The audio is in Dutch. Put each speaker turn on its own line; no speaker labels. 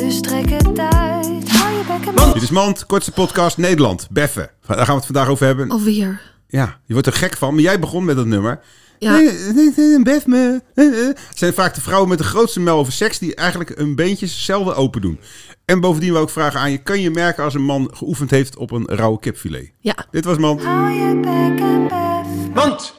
strek het uit. Hou je bekken man.
Dit is Mand, kortste podcast Nederland, Beffen. Daar gaan we het vandaag over
Oh.
hebben.
Alweer.
Ja, je wordt er gek van, maar jij begon met dat nummer.
Ja.
Eh, eh, eh, Bef me. Eh, eh. Het zijn vaak de vrouwen met de grootste mel over seks die eigenlijk hun beentjes zelden open doen. En bovendien wil ik vragen aan je, kan je merken als een man geoefend heeft op een rauwe kipfilet?
Ja.
Dit was Mand.
Hou je bekken bef.